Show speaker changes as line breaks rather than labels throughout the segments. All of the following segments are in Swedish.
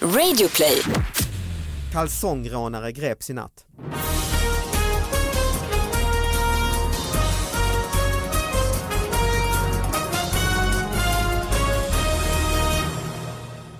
Radioplay.
Kalsongrånare greps i natt.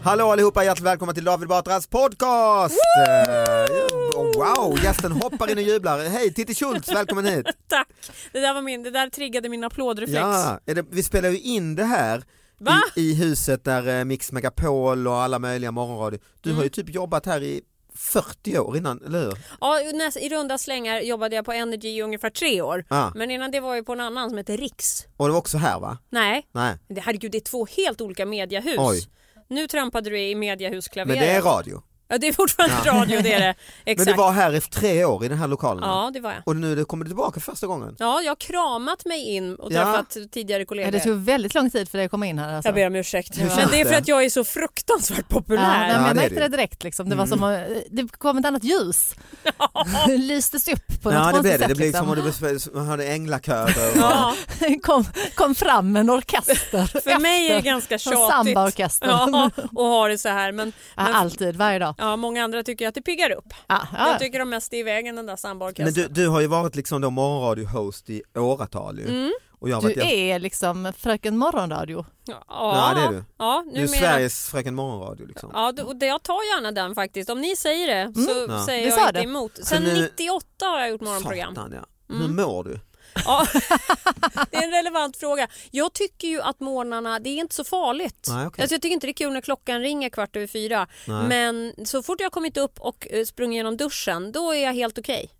Hallå allihopa, hjärtligt välkomna till David Batras podcast! Eh, oh, Wow, gästen hoppar in och jublar. Hej, Titti Schultz, välkommen hit!
Tack! Det där, var min, det där triggade min applådreflex.
Ja, är det, vi spelar ju in det här
Va?
i, i huset där eh, Mix Megapol och alla möjliga morgonradio. Du har ju typ jobbat här i 40 år innan, eller hur?
Ja, i näs- I runda slängar jobbade jag på Energy i ungefär tre år.
Ja.
Men innan det var jag på en annan som heter Riks.
Och det var också här va?
Nej,
Nej,
det, herregud det är två helt olika mediahus.
Oj.
Nu trampade du i mediahusklaver.
men det är radio.
Ja, det är fortfarande radio, det är det.
Men
Exakt.
du var här i tre år i den här lokalen.
Ja, det var jag.
Och nu du kommer du tillbaka första gången.
Ja, jag har kramat mig in och
Ja.
träffat tidigare kollegor.
Ja, det tog väldigt lång tid för dig att komma in här. Alltså.
Jag ber om ursäkt.
Hur
Men
känns
det är för
det?
att jag är så fruktansvärt populär.
Ja, nej, men
Ja,
jag
det Mm. är
märkte
det.
det direkt. Liksom. Det, var som, att- det kom ett annat ljus. Det lystes upp på
Ja
något
det
konstigt
blev det,
sätt.
det blev
liksom.
som om du besp- man hörde änglakörer. och-
Ja,
kom, kom fram en orkester.
för mig är det ganska
Som
tjatigt.
sambaorkester.
Ja, och ha det så här. Men,
Ja,
men
alltid, varje dag.
Ja, många andra tycker att det piggar upp.
Ja,
Jag
ja.
tycker de mest är i vägen den där sambarkasten.
Ah. Men du, du har ju varit liksom då morgonradio-host i åratal ju.
Mm.
Och jag har varit
Du är liksom fröken morgonradio.
Ja,
Ja, det är du.
Ja,
Du är
numera.
Sveriges fröken morgonradio liksom.
Ja, då- och det, jag tar gärna den faktiskt. Om ni säger det så
Mm. Ja.
säger
Vi
jag
sa
inte
det.
emot. Sen
nu-
98 har jag gjort morgonprogram. Mm. Eh,
Satan ja. Hur mår du?
Ja. det är en relevant fråga. Jag tycker ju att morgnarna, det är inte så farligt.
Nej, okej.
alltså, jag tycker inte det är kul när klockan ringer kvart över fyra. Men så fort jag har kommit upp och eh, sprungit genom duschen, då är jag helt okej.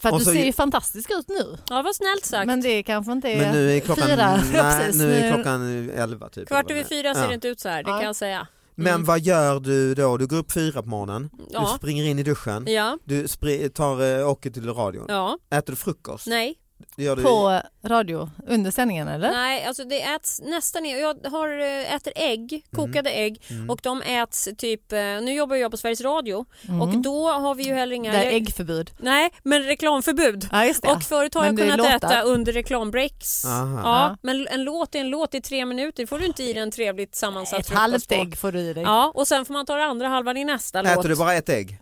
För att
Och
du
så-
ser ju fantastisk ut nu.
Ja, vad snällt sagt.
Men det kanske inte är,
Men nu är klockan,
fyra. Ja,
nej,
precis.
nu är klockan elva typ.
Kvart över fyra ser
Ja.
det inte ut så här, det
Ja.
kan jag säga.
Men vad gör du då? Du går upp fyra på morgonen, du
Ja.
springer in i duschen,
Ja,
du spri- tar, eh, åker till radion.
ja,
Äter du frukost?
nej.
Det gör du i-
På radio under sändningen eller?
Nej, alltså det äts nästan... Jag har, eh, äter ägg, kokade ägg och de äts typ... eh, Nu jobbar jag på Sveriges Radio och då har vi ju heller inga...
Där är äggförbud.
Nej, men reklamförbud.
Ja, just det.
Och förut har jag
Men det är
kunnat
låtar.
äta under reklambreaks.
Aha.
Ja, men en låt är en låt i tre minuter. får du inte i dig en trevligt sammansatt
Ett
frukost
halvt
på.
ägg får du i dig.
Ja, och sen får man ta det andra halvan i nästa låt.
Äter du bara ett ägg?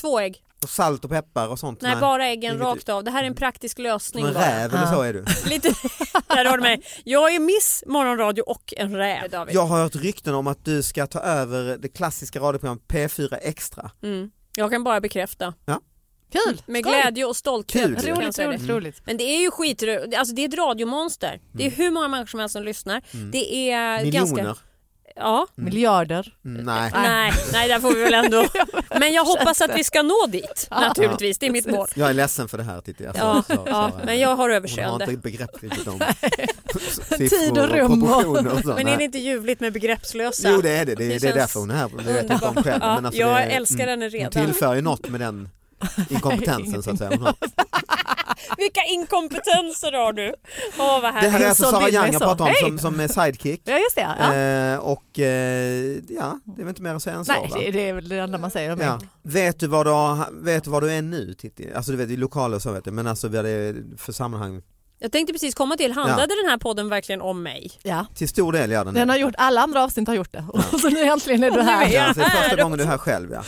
Två ägg.
Och salt och peppar och sånt?
Nej, bara äggen
Inget-
rakt av. Det här är en praktisk lösning.
Som en
bara.
räv eller så är du.
Lite... Där har du mig. Jag är Miss Morgonradio och en räv, David.
Jag har hört rykten om att du ska ta över det klassiska radioprogrammet P4 Extra.
Mm. Jag kan bara bekräfta.
Kul!
Med
Skoj!
glädje och stolthet.
Kul.
kan jag
Roligt,
säga det.
roligt, roligt.
Men det är ju skit, alltså det är ett radiomonster. Det är hur många människor som helst som lyssnar. Det är
Mm. Miljoner?
ganska... Ja,
Miljarder.
Mm, Nej.
nej, nej där får vi väl ändå. Men jag hoppas att vi ska nå dit naturligtvis, det är mitt mål.
Jag är ledsen för det här Titti. Alltså,
Ja,
så- så-
ja,
så-
men jag har
Hon har
överseende.
inte begrepp riktigt om
Tid och rum och-
proportioner och så.
Men är det
Nej.
inte ljuvligt med begreppslösa?
Jo det är det, det, är-
Det
det är
känns
därför hon är här. Det vet jag inte om
Underbart.
själv.
Ja,
men alltså
jag
det,
älskar henne
Hon
redan.
tillför ju något med den inkompetensen så att säga. Hon har.
Vilka inkompetenser har du? Åh vad
Det här är
härligt.
alltså
Hushåll
Sara
vill
Young
mig
jag
så.
pratar om som,
Hej!
som är sidekick.
Ja just det. Ja.
Eh, och eh, ja, det är väl inte mer att säga än så
Nej,
va?
det, det är väl det enda man säger om
Ja.
mig.
Vet, du vad du har, vet du vad du är nu Titti? Alltså du vet i lokaler och så vet du, men alltså vad det är för sammanhang.
Jag tänkte precis komma till, handlade den här podden verkligen om mig?
Ja.
Till stor del gör den det.
Den har gjort, alla andra avsnitt har gjort det. Så nu äntligen är du här.
Ja, alltså, det är första gången du är här själv ja.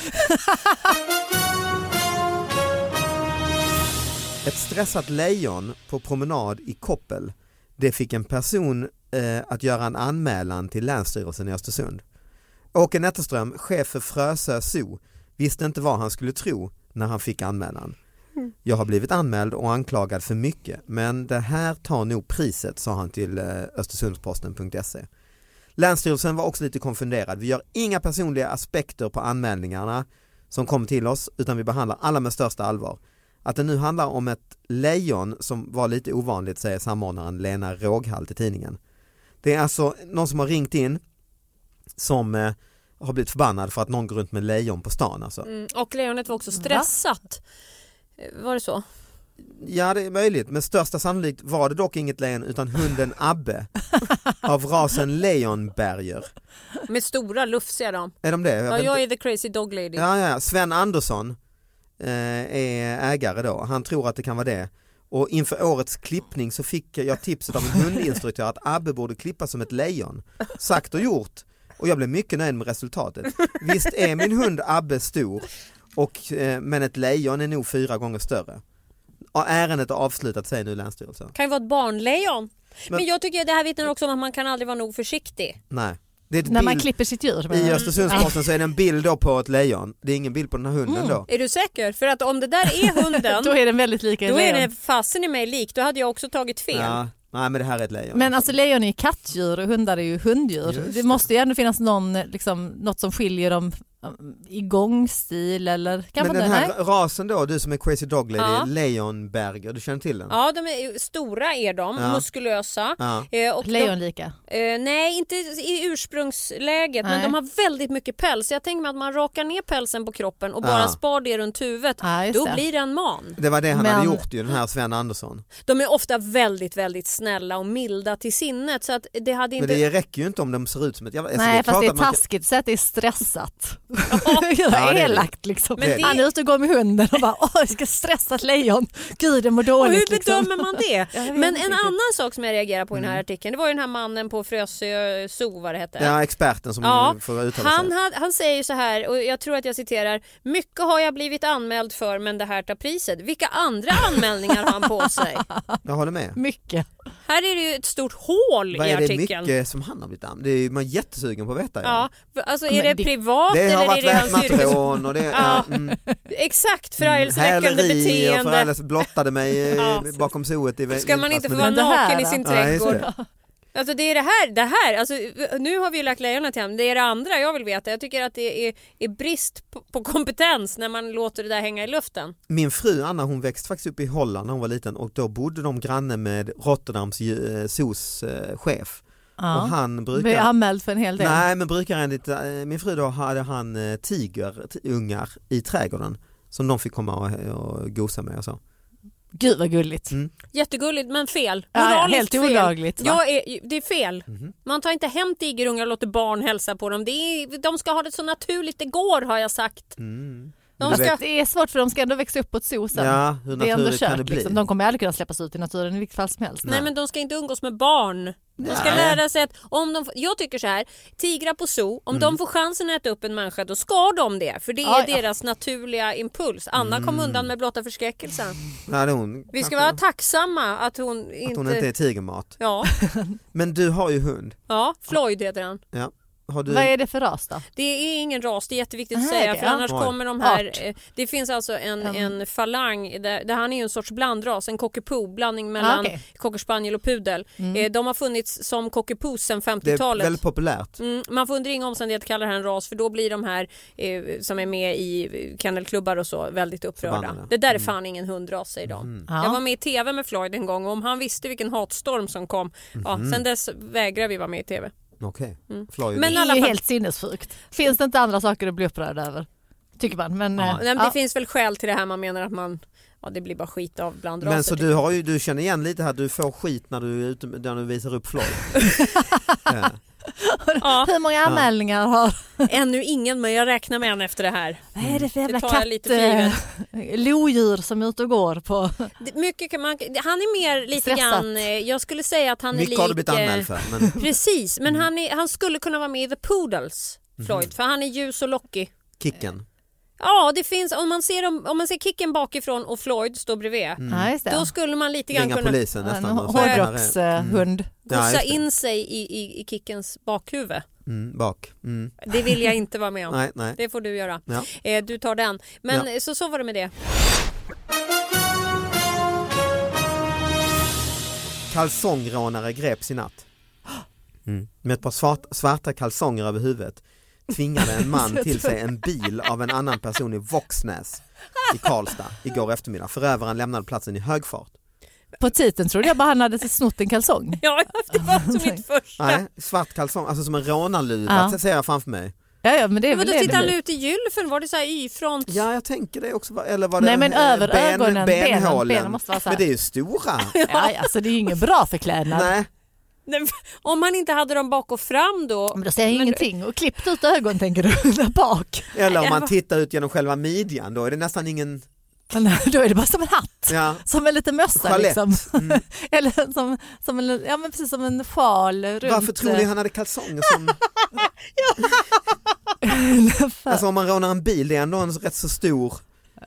Ett stressat lejon på promenad i Koppel. Det fick en person eh, att göra en anmälan till Länsstyrelsen i Östersund. Åke Netterström, chef för Frösö Zoo, visste inte vad han skulle tro när han fick anmälan. Jag har blivit anmäld och anklagad för mycket men det här tar nog priset sa han till eh, östersundsposten.se. Länsstyrelsen var också lite konfunderad. Vi gör inga personliga aspekter på anmälningarna som kom till oss utan vi behandlar alla med största allvar. Att det nu handlar om ett lejon som var lite ovanligt säger samordnaren Lena Råghall till tidningen. Det är alltså någon som har ringt in som eh, har blivit förbannad för att någon går runt med lejon på stan. Alltså.
Mm, och lejonet var också stressat. Eh, Var det så?
Ja det är möjligt, men största sannolikt var det dock inget lejon utan hunden Abbe av rasen lejonberger.
Med stora lufsiga då.
Är de det? Jag
Ja,
vet
jag
inte.
är the crazy dog lady.
Ja, ja, ja. Sven Andersson eh, är ägare då. Han tror att det kan vara det. Och inför årets klippning så fick jag tipset av en hundinstruktör att Abbe borde klippa som ett lejon. Sagt och gjort. Och jag blev mycket nöjd med resultatet. Visst är min hund Abbe stor, och, eh, men ett lejon är nog fyra gånger större. Och ärendet är avslutat säger nu Länsstyrelsen.
Kan ju vara ett barnlejon. Men,
Men-
jag tycker det här vittnar också om att man kan aldrig vara nog försiktig.
Nej. Det är ett
När man
bild-
klipper sitt djur.
I Östersundsposten så är det en bild då på ett lejon. Det är ingen bild på den här hunden
Mm.
då.
Är du säker? För att om det där är hunden,
Då är den väldigt lika
då är det
lejon.
fasen i mig lik. Då hade jag också tagit fel.
Ja. Nej men det här är ett lejon.
Men alltså lejon är ju kattdjur och hundar är ju hunddjur.
Just det.
Det. måste ju ändå finnas någon, liksom, något som skiljer dem um, i gångstil eller kanske
men
inte.
den här
Nej.
rasen då, du som är crazy dog lady,
Ja.
Leonberger, du känner till den?
Ja, de är ju- stora är de,
Ja.
muskulösa.
Ja.
Eh, och de,
Lejonlika.
Alltså,
eh, nej, inte i ursprungsläget, men
Nej.
de har väldigt mycket päls. Jag tänker mig att man rakar ner pälsen på kroppen och bara
Ja.
spar det runt huvudet.
Ja, just
då
det.
blir det en man.
Det var det han
Men-
hade gjort ju, den här Sven Andersson.
De är ofta väldigt, väldigt snälla och milda till sinnet. Så att det hade
Men
inte...
det räcker ju inte om de ser ut som ett jävla... alltså,
Nej
klart
fast det är
att man kan-
taskigt, säg att det är stressat.
Ja, det är
Elakt liksom.
Men det-
Han är ute och går med hunden och bara åh jag ska stressa ett lejon. Gud det mår
Och hur
dåligt. liksom.
bedömer man det?
Jag vet
Men
inte
en
riktigt.
annan sak som jag reagerar på i den här artikeln, det var ju den här mannen på Frösö Zoo, vad det hette.
Mm. Ja, experten som
Ja,
får uttala
han,
sig.
had, han säger så här, och jag tror att jag citerar, mycket har jag blivit anmäld för men det här tar priset. Vilka andra anmälningar har han på sig?
Jag håller med.
Mycket.
Här är det ju ett stort hål
Vad
i
är det
artikeln.
mycket som han har blivit anmäld? Det är ju- Man är jättesugen på att veta. ju.
Ja, för- alltså är
Men
det,
det-
privat
Det har
eller är
varit
det hans yrkes...
väpnat och det
Ja.
ja. mm,
Exakt, förargelseväckande
häleri och
beteende.
förargelse blottade mig eh,
Ja.
bakom zooet. i-
Ska man inte få vara
Men det här,
naken i sin
då? Ja, just
trädgård? Alltså det är det här, det här, alltså, nu har vi ju lagt lejonen till honom, det är det andra jag vill veta. Jag tycker att det är, är brist på, på kompetens när man låter det där hänga i luften.
Min fru Anna hon växte faktiskt upp i Holland när hon var liten och då bodde de granne med Rotterdams eh, zoos eh, chef. Och
Ja.
han brukar...
Blir anmäld för en hel del.
Nej men brukar enligt eh, min fru då hade han eh, tigerungar i trädgården som de fick komma och, och gosa med och så.
Gud vad gulligt.
Mm,
Jättegulligt men fel.
Ja, ja,
Moraliskt
helt
fel.
olagligt, va? Mhm.
Jag är, det är fel. Man tar inte hem tigerungar och låter barn hälsa på dem. Det är, de ska ha det så naturligt det går har jag sagt. De
Du
ska,
vet-
Det är svårt för de ska ändå växa upp på ett zoo sen.
Ja, hur
det är ändå
naturligt kan det
kört
bli?
liksom. De kommer aldrig kunna släppas ut i naturen i vilket fall som helst.
nej men de ska inte umgås med barn. De ska
Nej.
lära sig att om de, jag tycker så här, tigrar på zoo, om de får chansen att äta upp en människa då ska de det. För det är
Ja, ja.
deras naturliga impuls. Anna kom undan med blotta förskräckelsen.
Ja, det är hon,
Vi ska
kanske,
vara tacksamma att hon inte...
att hon inte är tigermat.
Ja,
Men du har ju hund.
ja, Floyd heter han.
Ja. Har du...
Vad är det för ras då?
Det är ingen ras, det är jätteviktigt
Nej,
att säga
okej,
för
ja.
annars
Oj.
kommer de här...
Art.
eh, Det finns alltså en, en falang, där, där han är ju en sorts blandras, en cockapoo, blandning mellan
Ah, okej.
cockerspaniel och pudel. Eh, De har funnits som cockapoos sedan
det är
50-talet.
väldigt populärt.
Mm, man får under inga omständigheter kalla det här en ras för då blir de här eh, som är med i eh, kennelklubbar och så väldigt upprörda.
Förbannade. Mm.
Det där är fan ingen hundras säger de.
Ja.
Jag var med i tv med Floyd en gång och om han visste vilken hatstorm som kom, ja,
Mhm.
sen dess vägrar vi vara med i tv.
Mm. Okej. Floyd.
Mm. Men-
Det
alla
är ju
fall-
helt sinnessjukt. Finns det inte andra saker att bli upprörd över? tycker man. Men,
Ja.
eh,
Nej, men
ja.
Det finns väl skäl till det här man menar att man, ja det blir bara skit av bland
Men
raser. typ.
så du, har ju, du känner igen lite här, du får skit när du, är ute- när du visar upp floj. ja.
Ja,
Hur många anmälningar har...
ännu ingen men jag räknar med en efter det här.
Vad är det för jävla
tar
katt...
jag lite för givet.
eh, lodjur som är ute och går på...
Det- Mycket kan man, han är mer lite
Stressat.
grann, eh, jag skulle säga att han är
Mycket har du
lik...
blivit anmäld
eh,
för. Men,
Precis,
Mm.
men han, är, han skulle kunna vara med i The Poodles,
Mhm.
Floyd, för han är ljus och lockig.
kicken.
Ja, det finns, om man ser, dem- om man ser Kicken bakifrån och Floyd står bredvid,
Mm.
Ja, just det.
då skulle man lite grann
Ringa
kunna
polisen
en eh,
nästan. och säga, Mm. "Här är-"
hårdrockshund.
Ja,
gossa
just det.
in sig i, i, i Kickens bakhuvud.
Mm, bak. Mm.
Det vill jag inte vara med om.
Nej, nej.
Det får du göra.
Ja.
Eh, du tar den. Men
Ja.
eh, så, så var det med det.
Kalsongrånare greps i natt. Mm. Med ett par svart, svarta kalsonger över huvudet tvingade en man till sig en bil av en annan person i Våxnäs i Karlstad igår eftermiddag. Förövaren lämnade platsen i hög fart.
På titeln trodde jag bara han hade snott en kalsong.
Ja, det var också mitt första.
Nej, svart kalsong, alltså som en rånarluva
Ja.
ser jag framför mig.
Ja, ja men det är
Men
väl
då
det det
tittade han
blir.
ut i gylfen, var det så här Y-front?
Ja, jag tänker det också. Eller var det
Nej men
eh,
över ögonen, benen,
benhålen?
benen måste vara så
Men
här.
det är ju stora.
Ja, alltså det är ju ingen bra förklädnad.
Nej,
Nej, Om han inte hade dem bak och fram då.
Men då säger jag ingenting och klippt ut ögon tänker du, där bak.
eller om man tittar ut genom själva midjan då är det nästan ingen,
Men då är det bara som en hatt.
ja,
Som en liten mössa
Chalett.
liksom. Eller som, som, en, ja, men precis som en sjal runt. eh.
varför tror ni han hade kalsonger som,
eh,
alltså om man rånar en bil det är ändå en rätt så stor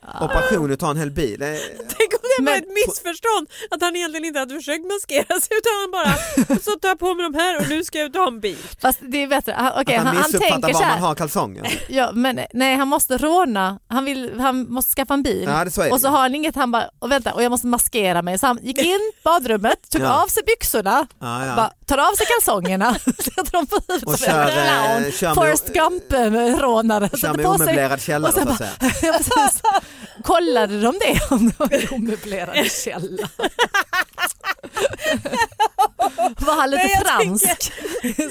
Ah.
operation att ta en hel bil. Eh,
Tänk om det var
Men-
ett missförstånd, att han egentligen inte hade försökt maskera sig utan han bara, så tar jag på mig de här och nu ska jag ut och ha en bil.
Fast det är bättre, han, okej,
att man
han, han
missuppfattar
tänker så
var man
här.
har kalsonger.
Ja, men, nej han måste råna, han, vill, han måste skaffa en bil.
Ja, det så är det.
och så har han inget, han bara, och vänta, och jag måste maskera mig. Så han gick in badrummet, tog
Ja.
av sig byxorna,
Ja, ja.
bara, tar av sig kalsongerna, sätter dem på huvudet
Och
som en
kör, eh,
clown.
kör med-
Forrest Gump-rånare.
Kör
Sätter
med
på sig-
omöblerad källare
och sen
så att
bara-
säga.
Ja, precis. Kollade de det om det var en omöblerad källa? Var han lite
Nej, jag
fransk?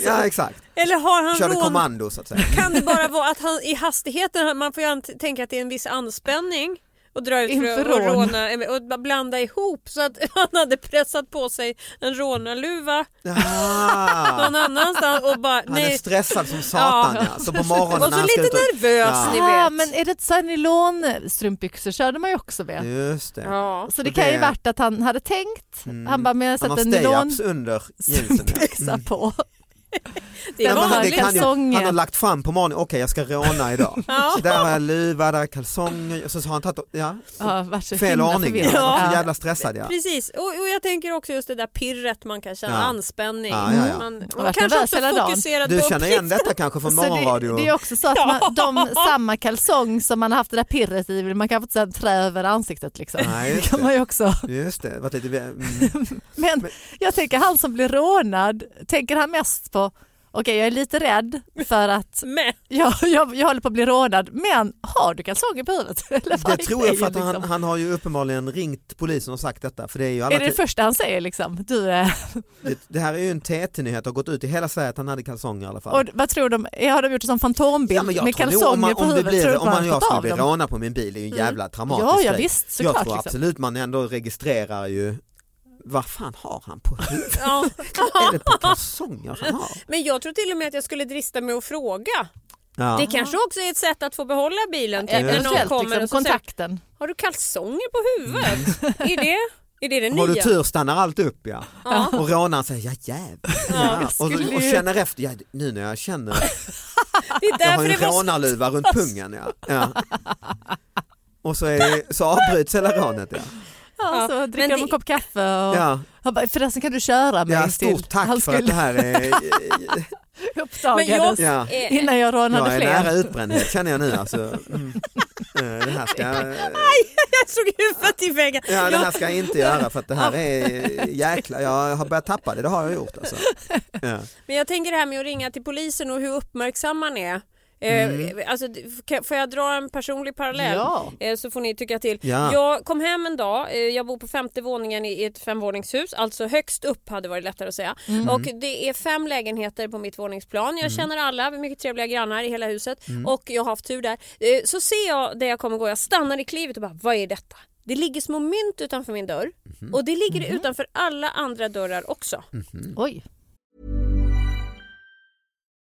Ja exakt,
Eller har han
körde
rån...
kommando så att säga.
Kan det bara vara att han i hastigheten, man får ju ant- tänka att det är en viss anspänning och dra ut
Inför
för att
rån.
råna eh, och bara blanda ihop så att han hade pressat på sig en rånarluva
Ah,
någon annanstans och bara
han är
nej.
stressad som satan ja. Så på morgonen
Och
när
så
han ska ut
lite nervös
Ja.
ni
Ah,
vet.
men är det inte så här nylonstrumpbyxor körde man ju också med.
Just det.
Ja.
Så det kan ju
Det- Mm.
varit att han hade tänkt, han bara men jag
Han har
sätter
stay-ups under jeansen. ja.
nylonbyxa på.
Det är
Nej, men
han-
vanligt.
kan ju-
Kalsonger.
han har lagt fram på morgonen, okej jag ska råna idag.
Ja.
Så där har jag luva, där är kalsonger, så har han tagit, ja,
Ja, vart så
fel
himla
ordning.
förvirrad.
Han var
Ja.
så jävla stressad ja.
Precis, och, och jag tänker också just det där pirret man kan känna,
Ja.
anspänning.
Ja, ja, ja.
Man, och
har varit
kanske
nervös
också
hela dagen.
fokuserad
Du
på
känner igen detta kanske från
Så det,
morgonradio?
det är också så att man, de samma kalsong som man har haft det där pirret i, man kan få så här trä över ansiktet liksom.
Nej,
det
just
kan
det.
man ju också.
Just det, varit lite, mm,
Men jag tänker han som blir rånad, tänker han mest på okej jag är lite rädd för att
med.
jag, jag, jag håller på att bli rånad men har du kalsonger på huvudet? Eller vad
det
är
tror jag för att
grejen,
han,
liksom?
han har ju uppenbarligen ringt polisen och sagt detta. För det, är ju alla
Är det det första han säger liksom? Du, eh,
det, det här är ju en TT-nyhet, har gått ut i hela Sverige att han hade kalsonger i alla fall.
och vad tror de, har de gjort det som
Ja,
fantombild
men jag
med
tror nog
kalsonger
om man,
på
om det
huvudet? tror
blir,
du
om
bara
man jag
tagit
skulle
av
bli
dem?
rånad på min bil, det är ju en jävla traumatisk
Ja, ja,
grej.
visst,
Jag
såklart,
tror
liksom.
absolut man ändå registrerar ju, vad fan har han på huvudet?
Ja.
är det på kalsonger han har?
Men jag tror till och med att jag skulle drista mig att fråga.
Ja.
Det kanske också är ett sätt att få behålla bilen. Typ, när någon
Eventuellt
kommer
liksom, Mm.
och så säger,
kontakten.
har du kalsonger på huvudet? Är, det, är det det
Har du
nya?
tur stannar allt upp ja. Och rånaren säger ja jävlar. Ja. Och,
skulle
och
ju-
känner efter, ja, nu när jag känner,
Det är
jag har
därför
ju
det
en
var så...
rånarluva runt pungen ja. ja. Och så, är, så avbryts hela rånet ja.
Ja, så dricker
men
de en
det-
kopp kaffe och
Ja,
han bara, förresten kan du köra mig
ja
till
stort tack
han
för att det
skulle
här är,
Men jag,
uppdagades
Ja.
eh,
innan jag rånade
jag är
fler.
nära utbrändhet känner jag nu alltså. Mm. Eh, Det här ska,
jag slog huvudet i väggen.
ja, det här ska jag inte göra för att det här är jäkla, jag har börjat tappa det, det har jag gjort alltså. Ja.
Men jag tänker det här med att ringa till polisen och hur uppmärksam man är. Eh,
Mm.
Alltså, kan- får jag dra en personlig parallell
Ja.
eh, så får ni tycka till.
Ja.
Jag kom hem en dag, eh, jag bor på femte våningen i ett femvåningshus, alltså högst upp hade varit lättare att säga. Och det är fem lägenheter på mitt våningsplan. Jag känner alla, vi har mycket trevliga grannar i hela huset och jag har haft tur där. Eh, Så ser jag där jag kommer gå, jag stannar i klivet och bara vad är detta? Det ligger små mynt utanför min dörr och det ligger det utanför alla andra dörrar också.
Mm.
Oj.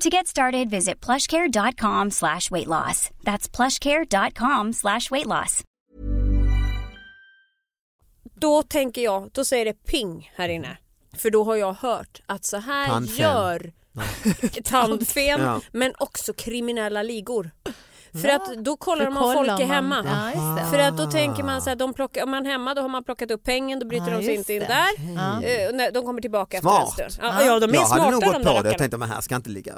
To get started, visit plushcare.com slash weight loss. That's plushcare.com slash weight loss.
Då tänker jag, då säger det ping här inne. För då har jag hört att så här
Tandfen.
gör tandfen
Ja.
men också kriminella ligor. För att då kollar
Då
de om folk
kollar
är hemma.
man. Ja, just det.
För att
Ah.
då tänker man så här, de plockar, om man är hemma då har man plockat upp pengen, då bryter
Ja,
de sig
just
inte in
det.
där. Eh, och när- De kommer tillbaka
Smart.
efter en stund. Ja, ja, de är
jag hade
smarta
nog gått
de där
på det
rackarna.
och tänkte men här ska inte ligga.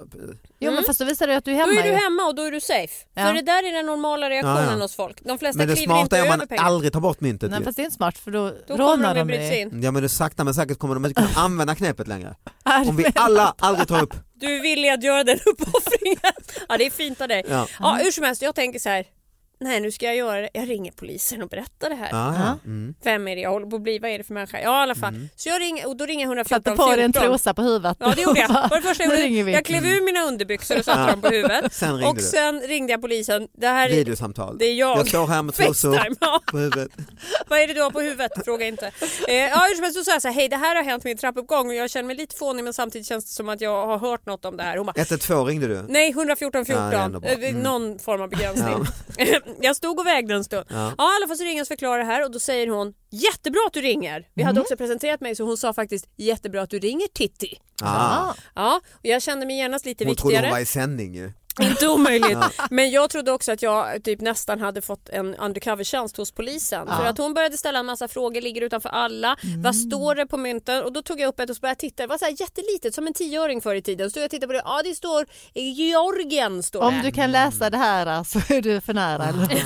Jo men fast då visar det ju att du är
Mm. Då
hemma
är du
ju.
hemma och då är du safe.
Ja.
För det där är den normala reaktionen
Ja, ja.
hos folk. De flesta
Men det
kliver
smarta
inte
är om
över
man
pengen.
aldrig tar bort myntet
Nej
ju.
fast det är inte smart för då,
Då
rånar
kommer de
de,
att bryta sig
dig.
in.
Ja men du sakta men säkert kommer de inte kunna använda knepet längre. Om vi alla aldrig tar upp.
Du är villig att göra den uppoffringen. ja, det är fint av dig. Ja.
Ja.
hur som helst, jag tänker så här. Nej, nu ska jag göra det. Jag ringer polisen och berättar det här.
Ja, ja. Mm.
Vem är det jag håller på att bli? Vad är det för människa? Ja, i alla fall. Så jag ringer och då ringer jag 114
Satte på dig en
14.
trosa på huvudet.
Ja det gjorde jag. Det Var det första jag,
Nu
gjorde.
ringer vi.
jag klev ur mina underbyxor och satte dem på huvudet.
Sen ringde
och
du.
sen ringde jag polisen. Det här är
Videosamtal.
det är jag.
Jag står här med trosor
Facetime. Ja.
på huvudet.
Vad är det du har på huvudet? Fråga inte. Eh, ja, hur som helst så sa jag så här, hej det här har hänt min trappuppgång och jag känner mig lite fånig men samtidigt känns det som att jag har hört något om det här. Hon bara,
112 ringde du.
Nej, 114
Ja, det är ändå
14.
bra. Mm.
Eh, Någon form av begränsning. jag stod och vägde en stund. Ja.
Ja.
i alla fall så ringer jag och förklarar det här och då säger hon jättebra att du ringer. Vi
Mm.
hade också presenterat mig så hon sa faktiskt jättebra att du ringer Titti.
Ah.
Ja, och jag kände mig genast lite
Hon trodde hon var
viktigare.
i sändning ju.
Inte omöjligt. Men jag trodde också att jag typ nästan hade fått en undercover-tjänst hos polisen. För att hon började ställa en massa frågor, ligger utanför alla.
Mm.
Vad står det på mynten? Och då tog jag upp ett och så började jag titta. Det var så här jättelitet, som en tioöring förr i tiden. Så stod jag och tittade på det. Ja, det står Georgien står det.
Om du kan läsa det här så är du för nära. Eller?
Mm.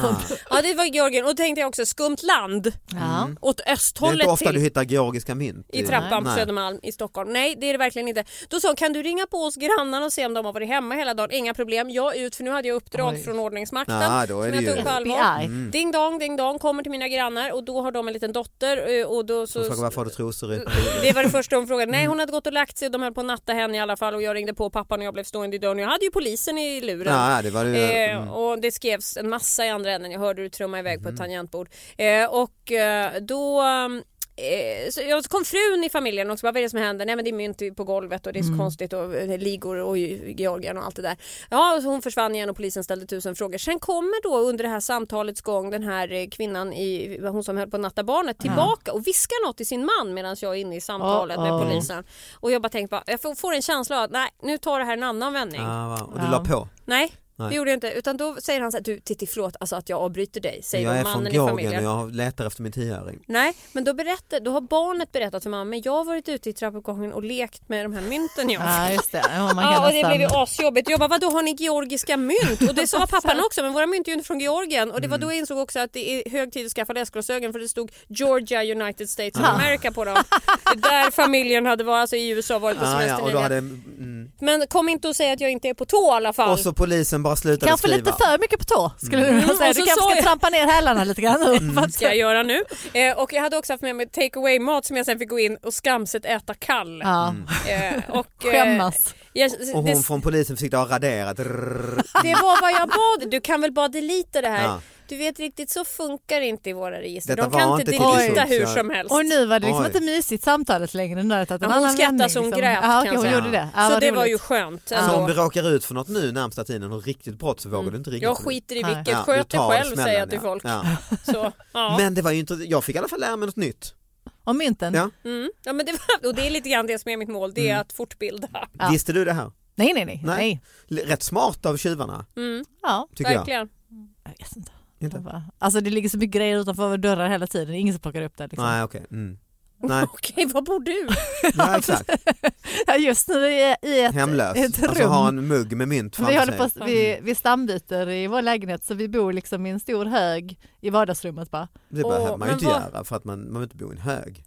Ja det var Georgien och då tänkte jag också skumt land
Ja.
Mm.
åt
Det är inte
östhållet
ofta du
till
hittar georgiska mynt.
i trappan på
Nej.
Södermalm i Stockholm. Nej det är det verkligen inte. Då sa hon kan du ringa på oss grannarna och se om de har varit hemma hela dagen? Inga problem, jag ut för nu hade jag uppdrag
Oj.
från ordningsmakten
Ja, då är
som
det
jag
ju- Mm.
tog på allvar.
FBI.
Ding dong, ding dong, kommer till mina grannar och då har de en liten dotter eh, och då
Hon frågar
så
varför har du trosor ut på huvudet?
det var det första hon frågade.
Mm.
Nej hon hade gått och lagt sig och de höll på att natta henne i alla fall och jag ringde på pappan och jag blev stående i dörren. Jag hade ju polisen i luren.
Ja, det var det ju.
Eh,
Mm.
och det skrevs en massa i andra änden. Jag hörde du trumma iväg på ett tangentbord. Eh, och eh, då eh, så jag så kom frun i familjen och så bara, vad är det som händer? Nej men det är mynt på golvet och det är så konstigt och eh, ligor och i Georgien och allt det där. Ja, och så hon försvann igen och polisen ställde tusen frågor. Sen kommer då under det här samtalets gång den här eh, kvinnan, i, hon som höll på att natta barnet, tillbaka och viskar något till sin man medan jag är inne i samtalet med
Uh-oh.
polisen. Och jag bara tänkte, bara, jag får- får en känsla av att nej, nu tar det här en annan vändning.
Ah, va. och du
Ja.
la på.
Nej, det
Nej.
gjorde jag inte. Utan då säger han så här, du Titti förlåt alltså att jag avbryter dig, säger
Jag är från
mannen i
Georgien
familjen.
och jag letar efter min tioöring.
Nej, men då, berättar, då har barnet berättat för mamma, men jag har varit ute i trappuppgången och lekt med de här mynten jag har
Ja, just det. Ja, Ah, man kan
Ja och det
nästan-
blev ju asjobbigt. Jag bara vadå har ni georgiska mynt? Och det sa pappan också men våra mynt är ju inte från Georgien. Och det var
Mm.
då jag insåg också att det är hög tid att skaffa läsglasögon för det stod Georgia United States
Ah.
of America på dem. Det är där familjen hade varit, alltså i USA varit på
Ah, ja,
semester
och då
nyligen.
hade, mm.
Men kom inte och säg att jag inte är på tå i alla fall.
Och så polisen bara slutade
Kanske
skriva.
lite för mycket på tå skulle du vilja säga.
och Mm. så
Du kanske
sa
ska
jag-
trampa ner hälarna lite grann. För att-
ska jag göra nu. Eh, och jag hade också haft med mig take away mat som jag sen fick gå in och skamset äta kall.
Ja,
Eh, och, eh,
Ah. skämmas.
jag,
Och
det,
hon från polisen försökte ha raderat. Rrrr.
det var vad jag bad. Du kan väl bara delita det här.
Ja.
Du vet riktigt så funkar det inte i våra register.
Detta
De kan
var
inte
inte till
delita
Oj.
hur som helst.
Och nu var det liksom
Oj.
inte mysigt samtalet längre. Nu har det tagit en
Men hon
annan
skrattade
vändning,
så hon
liksom.
grät,
Ja,
kan
okej,
jag
hon
säga.
gjorde det. Ja,
Så
vad
det var
roligt.
ju skönt. Alltså,
Så om
ändå.
du råkar ut för något nu närmsta tiden, något riktigt brott så vågar du inte ringa.
Jag
till
skiter i
Nej.
vilket,
Ja,
sköt
du
dig
tar
själv säger
smällen,
jag till
ja.
folk.
Ja.
Så, ja.
Men det var ju inte, jag fick i alla fall lära mig något nytt.
Om mynten?
Ja.
Mm. ja, men det var, och det är lite grann det som är mitt mål, det är
Mm.
att fortbilda.
Ja.
Visste du det här?
Nej, nej, nej.
Nej.
nej.
L- Rätt smart av tjuvarna,
Mm.
Ja,
tycker jag.
Verkligen.
jag vet inte.
Inte?
Jag bara- Alltså det ligger så mycket grejer utanför våra dörrar hela tiden. Det är ingen som plockar upp det. Liksom.
Nej, okej. Mm. Nej, Mm.
Okej, var bor du?
ja, exakt.
Ja, Just nu är jag i ett,
Hemlös.
ett rum.
Alltså har en mugg med mynt
vi,
framför
håller
sig.
på, vi, vi stambyter i vår lägenhet så vi bor liksom i en stor hög i vardagsrummet bara.
Det behöver
Åh,
man ju
men
inte
vad-
göra för att man, man vill inte bo i en hög.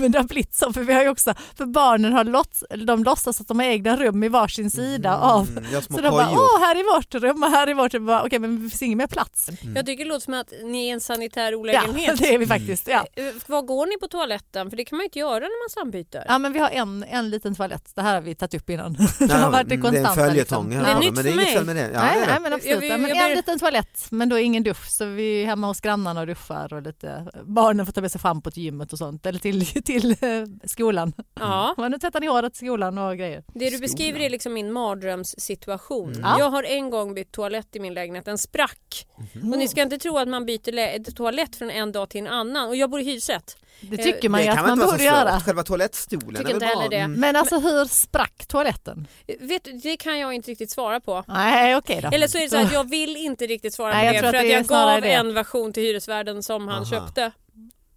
Men det har blivit så för vi har ju också, för barnen har låts, de låtsas att de har egna rum i varsin sida av
Mm, jag har små
så de bara,
kojor.
åh här är vårt rum och här är vårt rum. Bara, Okej men det finns ingen mer plats.
Jag tycker det låter som att ni är en sanitär
Ja,
olägenhet.
det är vi faktiskt. Ja.
Eh, Var går ni på toaletten? För det kan man ju inte göra när man sambyter.
ja men vi har en, en liten toalett, det här har vi tagit upp innan. det
Nej,
har varit det
mm, det är en
konstanta.
följetong.
liksom.
här
Det är
har de,
nytt
men det är
för
inget
mig.
fel med det. Ja,
nej,
det är
nej
det.
men absolut,
Jag-
ja,
jag-
men
jag
en
ber-
liten toalett men då ingen dusch så vi är hemma hos grannarna och duschar och lite barnen får ta med sig schampo till gymmet och sånt eller till, till eh, skolan.
Ja.
Men nu tvättar ni håret till skolan och grejer.
Det du beskriver är liksom min mardrömssituation.
Mm.
Ja.
Jag har en gång bytt toalett i min lägenhet, den sprack.
Mm.
Och
Mm.
ni ska inte tro att man byter lä- toalett från en dag till en annan. Och jag bor i hyresrätt.
Det
Eh,
tycker man ju
det
att
kan väl
man
inte vara
borde
så
göra.
svårt. Själva toalettstolen
Tycker
är väl
inte heller
bra.
det.
Mm.
Men alltså hur sprack toaletten?
Eh, Vet du, det kan jag inte riktigt svara på.
Nej okej då.
Eller så är det så att jag vill inte riktigt svara
Nej, jag
på
tror
det
att
för att
det är
jag
snarare
gav
det.
en version till hyresvärden som han
Aha.
köpte.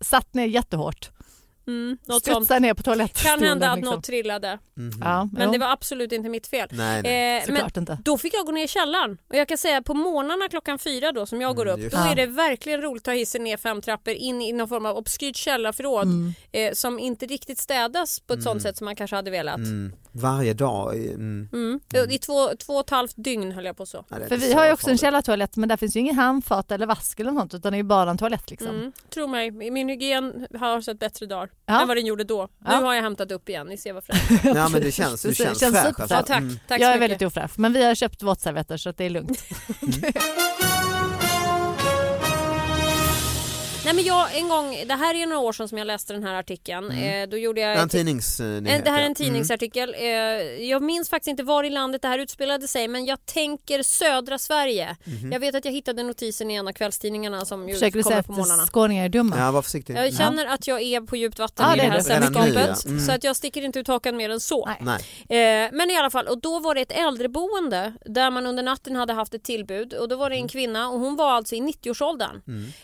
Satt ner jättehårt.
Mm, något sånt.
Studsade ner på toalettstolen.
Kan hända att
liksom.
något trillade.
Mhm.
Ja,
Men
jo,
det var absolut inte mitt fel.
Nej, nej.
Eh, men
såklart inte.
då fick jag gå ner i källaren och jag kan säga på morgnarna klockan fyra då som jag går upp
just
då
det.
är det verkligen roligt att ta hissen ner fem trappor in i någon form av obskyrt källarförråd
Mm.
eh, som inte riktigt städas på ett sånt sätt som man kanske hade velat.
Mm. Varje dag. eh, Mm.
Mm. I två, två och ett halvt dygn höll jag på så.
Ja, det är
För
inte
vi
så
har ju också en
farligt.
källartoalett men där finns ju ingen handfat eller vask eller något sånt utan det är ju bara en toalett liksom.
Mm. Tro mig, min hygien har sett bättre dagar
Ja.
än vad den gjorde då.
Ja.
Nu har jag hämtat upp igen, ni ser vad fräscht.
Ja, men det känns, det
Precis,
känns,
känns
fräscht.
superfräscht.
alltså.
Ja, tack.
Mm.
tack så
jag är
mycket.
väldigt ofräsch men vi har köpt våtservetter så att det är lugnt.
Nej, men jag, en gång, det här är några år sedan som jag läste den här artikeln.
Mm.
Eh, då gjorde jag
Det är En
ett-
tidningsnyhet.
En, Eh, det här är
ja.
en tidningsartikel. Eh, jag minns faktiskt inte var i landet det här utspelade sig men jag tänker södra Sverige.
Mhm.
Jag vet att jag hittade notisen i en av kvällstidningarna som ju
Försöker du
kommer
säga
på
att
morgnarna.
skåningar är dumma?
Mm. Ja, var försiktig.
Jag
Ja.
känner att jag är på djupt vatten
Ja,
i
det
det
är
här
du.
Redan
sällskapet
nu, ja. Mm.
så att jag sticker inte ut hakan mer än så.
Nej.
Nej.
Eh, men i alla fall, och då var det ett äldreboende där man under natten hade haft ett tillbud och då var det en kvinna och hon var alltså i 90-årsåldern.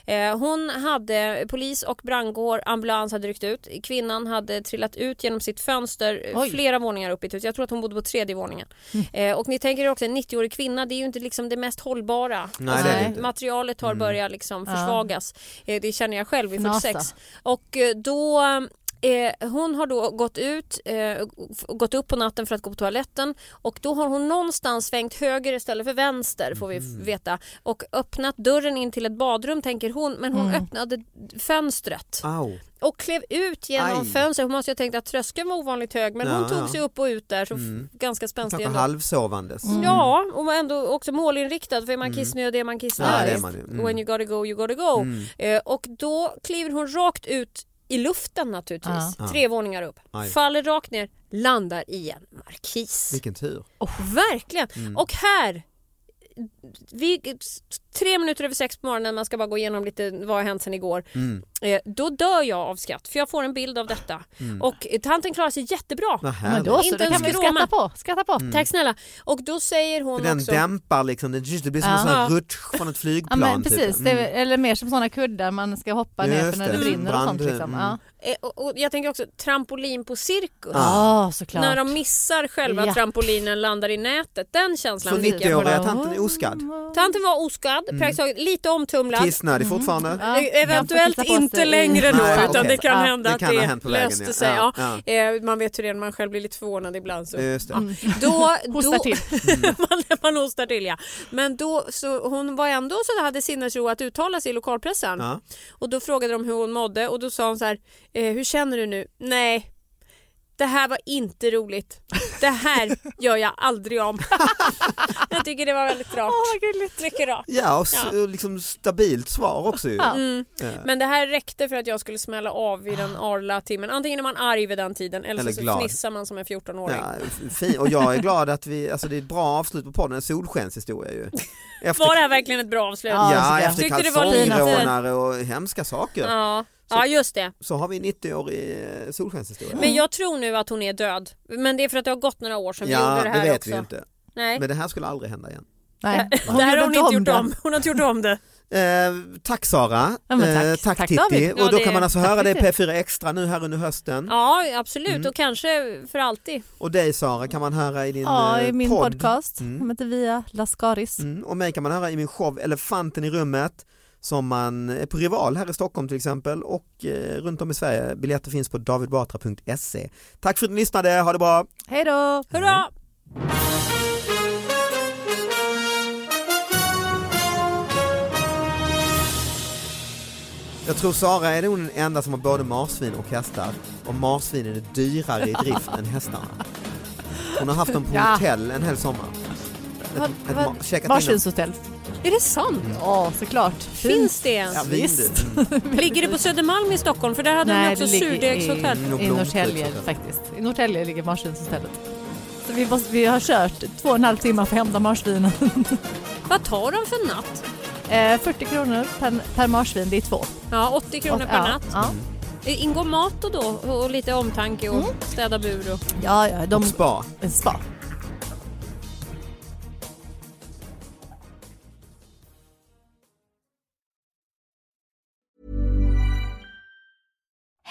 Eh, hon hade polis och brandkår, ambulans hade ryckt ut. Kvinnan hade trillat ut genom sitt fönster eh,
Oj.
flera våningar upp i ett hus. Jag tror att hon bodde på tredje våningen. Eh, och ni tänker er också en 90-årig kvinna, det är ju inte liksom det mest hållbara.
Nej, det är det inte.
Materialet
Mm.
har börjat liksom försvagas. Eh, det känner jag själv vid
Fnasa.
46. Och eh, då Eh, hon har då gått ut, eh, f- gått upp på natten för att gå på toaletten och då har hon någonstans svängt höger istället för vänster får vi f-
Mm.
veta och öppnat dörren in till ett badrum tänker hon men hon
Mm.
öppnade fönstret
Au.
och klev ut genom
Ah. Aj.
fönstret. Hon måste ju ha tänkt att tröskeln var ovanligt hög men
Ja,
hon tog
ja.
sig upp och ut där så f- ganska spänstig
Kanske
ändå.
halvsovandes.
Ja, och ändå också målinriktad för är man kissnödig är man kissnödig.
Mm. Ja, det är man ju. Mm.
When you gotta go, you gotta go. Eh, och då kliver hon rakt ut i luften naturligtvis.
Ja.
Tre våningar upp.
Aj.
Faller rakt ner, landar i en markis.
Vilken tur.
Verkligen!
Mm.
Och här vi, tre minuter över sex på morgonen, man ska bara gå igenom lite vad har hänt sen igår.
Mm.
Eh, då dör jag av skratt för jag får en bild av detta.
Mm.
Och eh, tanten klarar sig jättebra.
Vad
Men
härligt.
då så,
Inte
det kan
ens
vi
skråma.
skratta på. Skratta på.
Mm.
Tack snälla. Och då säger hon
För den
också...
dämpar liksom, det, det blir som en
Ja.
sån här rutsch från ett
Ja,
flygplan.
men precis,
typ.
det är, eller mer som sådana kuddar man ska hoppa ner
Just
för när det
det.
brinner och sånt.
Brand,
Liksom.
mm.
Ja,
Eh, Och, och jag tänker också trampolin på cirkus.
ah. såklart.
När de missar själva
Ja.
trampolinen landar i nätet. Den känslan
Så
fick jag.
90-åriga tanten är oskadd.
Tanten var oskadd,
Mm.
praktiskt taget lite omtumlad.
Kissnödig fortfarande.
Ja,
Eh, Eventuellt
man får kissa på
inte
sig i-
längre då
Nej,
utan
okej.
det kan
Ja.
hända
Det
att
kan ha hänt
det
på vägen,
löste
ja.
sig. Ja.
Ja, Eh,
Eh, Man vet hur det är när man själv blir lite förvånad ibland. Så.
Just det.
Då,
Hostar
då,
till.
Mm.
man, man hostar till ja. Men då, så hon var ändå så hade sinnesro att uttala sig i lokalpressen.
Ja.
Och då frågade de hur hon mådde och då sa hon så här, eh, hur känner du nu? Nej, det här var inte roligt. Det här gör jag aldrig om. jag tycker det var väldigt rakt. Mycket rakt.
Ja, och s- liksom stabilt svar också ju.
Mm.
Ja.
Men det här räckte för att jag skulle smälla av i den arla timmen. Antingen är man arg vid den tiden eller,
Ah. Eller
så
glad.
fnissar man som en 14-åring.
Ja, f- fin. Och jag är glad att vi, alltså det är ett bra avslut på podden, en solskenshistoria ju. Efter,
Var det här verkligen ett bra avslut?
ja, efter
Tyckte det var lite...
kalsongrånare och hemska saker.
Ja. ja, just det.
Så har vi 90-årig eh, solskenshistoria.
Men jag tror nu att hon är död. Men det är för att det har gått några år sedan vi
ja,
gjorde det här
vet
också.
vi ju inte.
Nej.
Men det här skulle aldrig hända igen.
Nej.
det här har hon inte gjort
det.
om. Hon har inte gjort om
Mm.
det.
Eh, tack Sara,
Ja, men tack.
Eh, tack,
Tack,
Titti.
David.
Och
Ja,
då
det-
kan man alltså höra det i
Titti.
P4 Extra nu här under hösten.
Ja, absolut.
Mm.
Och kanske för alltid.
Och dig Sara kan man höra i din
Ja,
eh,
i min
podd.
podcast. Som heter Via Lascaris.
Mm, och mig kan man höra i min show Elefanten i rummet som man är på Rival här i Stockholm till exempel och eh, runt om i Sverige. Biljetter finns på davidbatra.se. Tack för att ni lyssnade, ha det bra!
Hej då!
Hurra!
Jag tror Sara är nog den enda som har både marsvin och hästar och marsvinen är dyrare i drift än hästarna. Hon har haft dem på
Ja.
hotell en hel sommar.
Vad-
Ett
vad-
ma- checkat in dem.
Varselshotell.
Är det sant?
Ja, såklart.
Finns det ens?
Ja, vin du.
Ligger det på Södermalm i Stockholm? För där hade de ju också surdegshotell.
Mm, och
i Norrtälje
blomsterhotell.
faktiskt. I Norrtälje ligger marsvinshotellet. Så vi, måste, vi har kört två och en halv timme för att hämta marsvinen.
Vad tar de för natt?
Eh, 40 kronor per, per marsvin, det är två.
Ja, 80 kronor per
ja,
natt.
Ja,
Ingår mat och då och lite omtanke och städa bur och...
ja, ja de...
Och spa.
Spa.